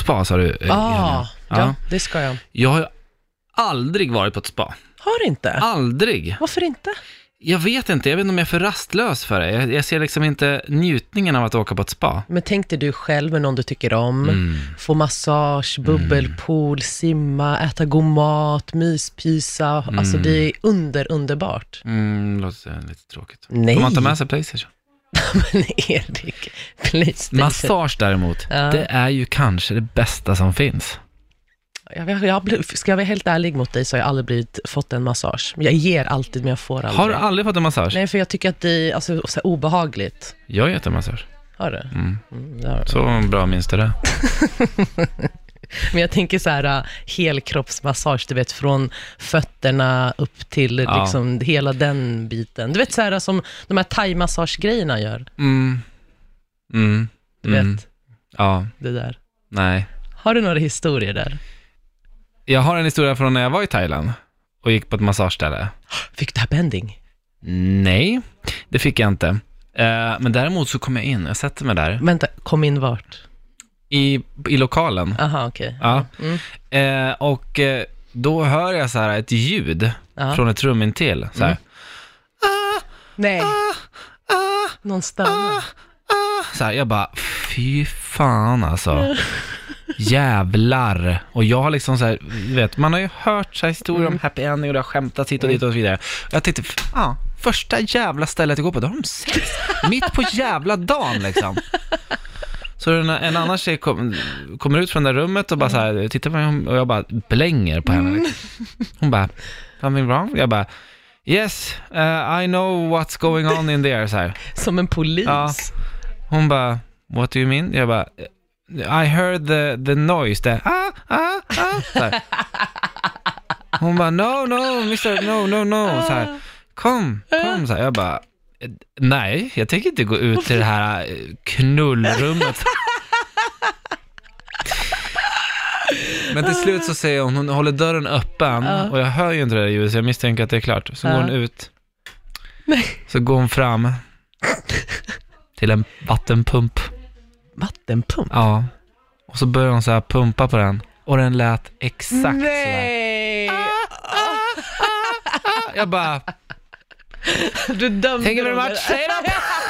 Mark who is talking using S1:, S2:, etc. S1: spa sa du? eh,
S2: Ah,
S1: Elina.
S2: ja.
S1: ja.
S2: det ska jag.
S1: Jag har ju aldrig varit på ett spa.
S2: Har inte?
S1: Aldrig.
S2: Ah. Varför inte?
S1: Jag vet inte, jag vet inte om jag är för rastlös för det. Jag, jag ser liksom inte njutningen av att åka på ett spa.
S2: Men tänk dig du själv med någon du tycker om.
S1: Mm.
S2: Få massage, bubbelpool, simma, äta god mat, myspysa. Alltså det är under, underbart.
S1: Mm, låter lite tråkigt.
S2: Nej.
S1: Får man ta med sig Playstation?
S2: Men Erik, Playstation.
S1: Massage däremot,
S2: Ja.
S1: det är ju kanske det bästa som finns.
S2: Jag, jag, jag, blev- ska jag vara helt ärlig mot dig så har jag aldrig blivit, fått en massage. Jag ger alltid, men jag får aldrig.
S1: Har du aldrig fått en massage?
S2: Nej, för jag tycker att det är alltså, så här obehagligt.
S1: Jag har gett en massage.
S2: Har du?
S1: Mm.
S2: Mm, det har du.
S1: Så bra minns du det.
S2: Men jag tänker så här äh, helkroppsmassage, du vet från fötterna upp till
S1: Ja.
S2: liksom hela den biten. Du vet så här äh, som de här thaimassagegrejerna gör,
S1: Mm. Mm.
S2: du
S1: Mm.
S2: vet
S1: Ja,
S2: det där.
S1: nej.
S2: Har du några historier där?
S1: Jag har en historia från när jag var i Thailand och gick på ett massageställe.
S2: Fick du här bending?
S1: Nej, det fick jag inte. Eh, Men däremot så kom jag in, jag sätter mig där,
S2: Vänta, kom in vart?
S1: i, i lokalen.
S2: Aha, okej.
S1: Ja.
S2: Mm.
S1: Eh, Och eh, då hör jag så här ett ljud
S2: Ja. Mm.
S1: från ett rum intill. Så här.
S2: Nej.
S1: Ah,
S2: Någon stannar.
S1: Så här, jag bara, fy fan alltså. Jävlar. Och jag har liksom så här, du vet, man har ju hört så här historier om happy ending och det har skämtats hit och dit och så vidare. Och jag tänkte, ja, första jävla stället jag går på, då har de sex. Mitt på jävla dagen liksom. Så en, en annan tjej kom, kommer ut från det där rummet och bara så här, tittar på mig och jag bara blänger på henne. Liksom. Hon bara, something wrong? Jag bara, yes, eh, I know what's going on in there. Så här.
S2: Som en polis.
S1: Ja. Hon bara, what do you mean? Jag bara, I heard the, the noise, the ah, ah, ah. Så här. Hon bara, no, no, mister, no, no, no. Så här, kom, kom. Så här. Jag bara, nej, jag tänker inte gå ut till det här eh, knullrummet. Men till slut så säger hon, hon håller dörren öppen och jag hör ju inte det där ljudet så jag misstänker att det är klart. Så går
S2: Ja.
S1: hon ut. Så går hon fram till en vattenpump.
S2: Vattenpump?
S1: Ja. Och så började hon så här pumpa på den. Och den lät exakt så här.
S2: Nej!
S1: Jag bara,
S2: Du dömde
S1: thank you very
S2: dem.
S1: much, say it up!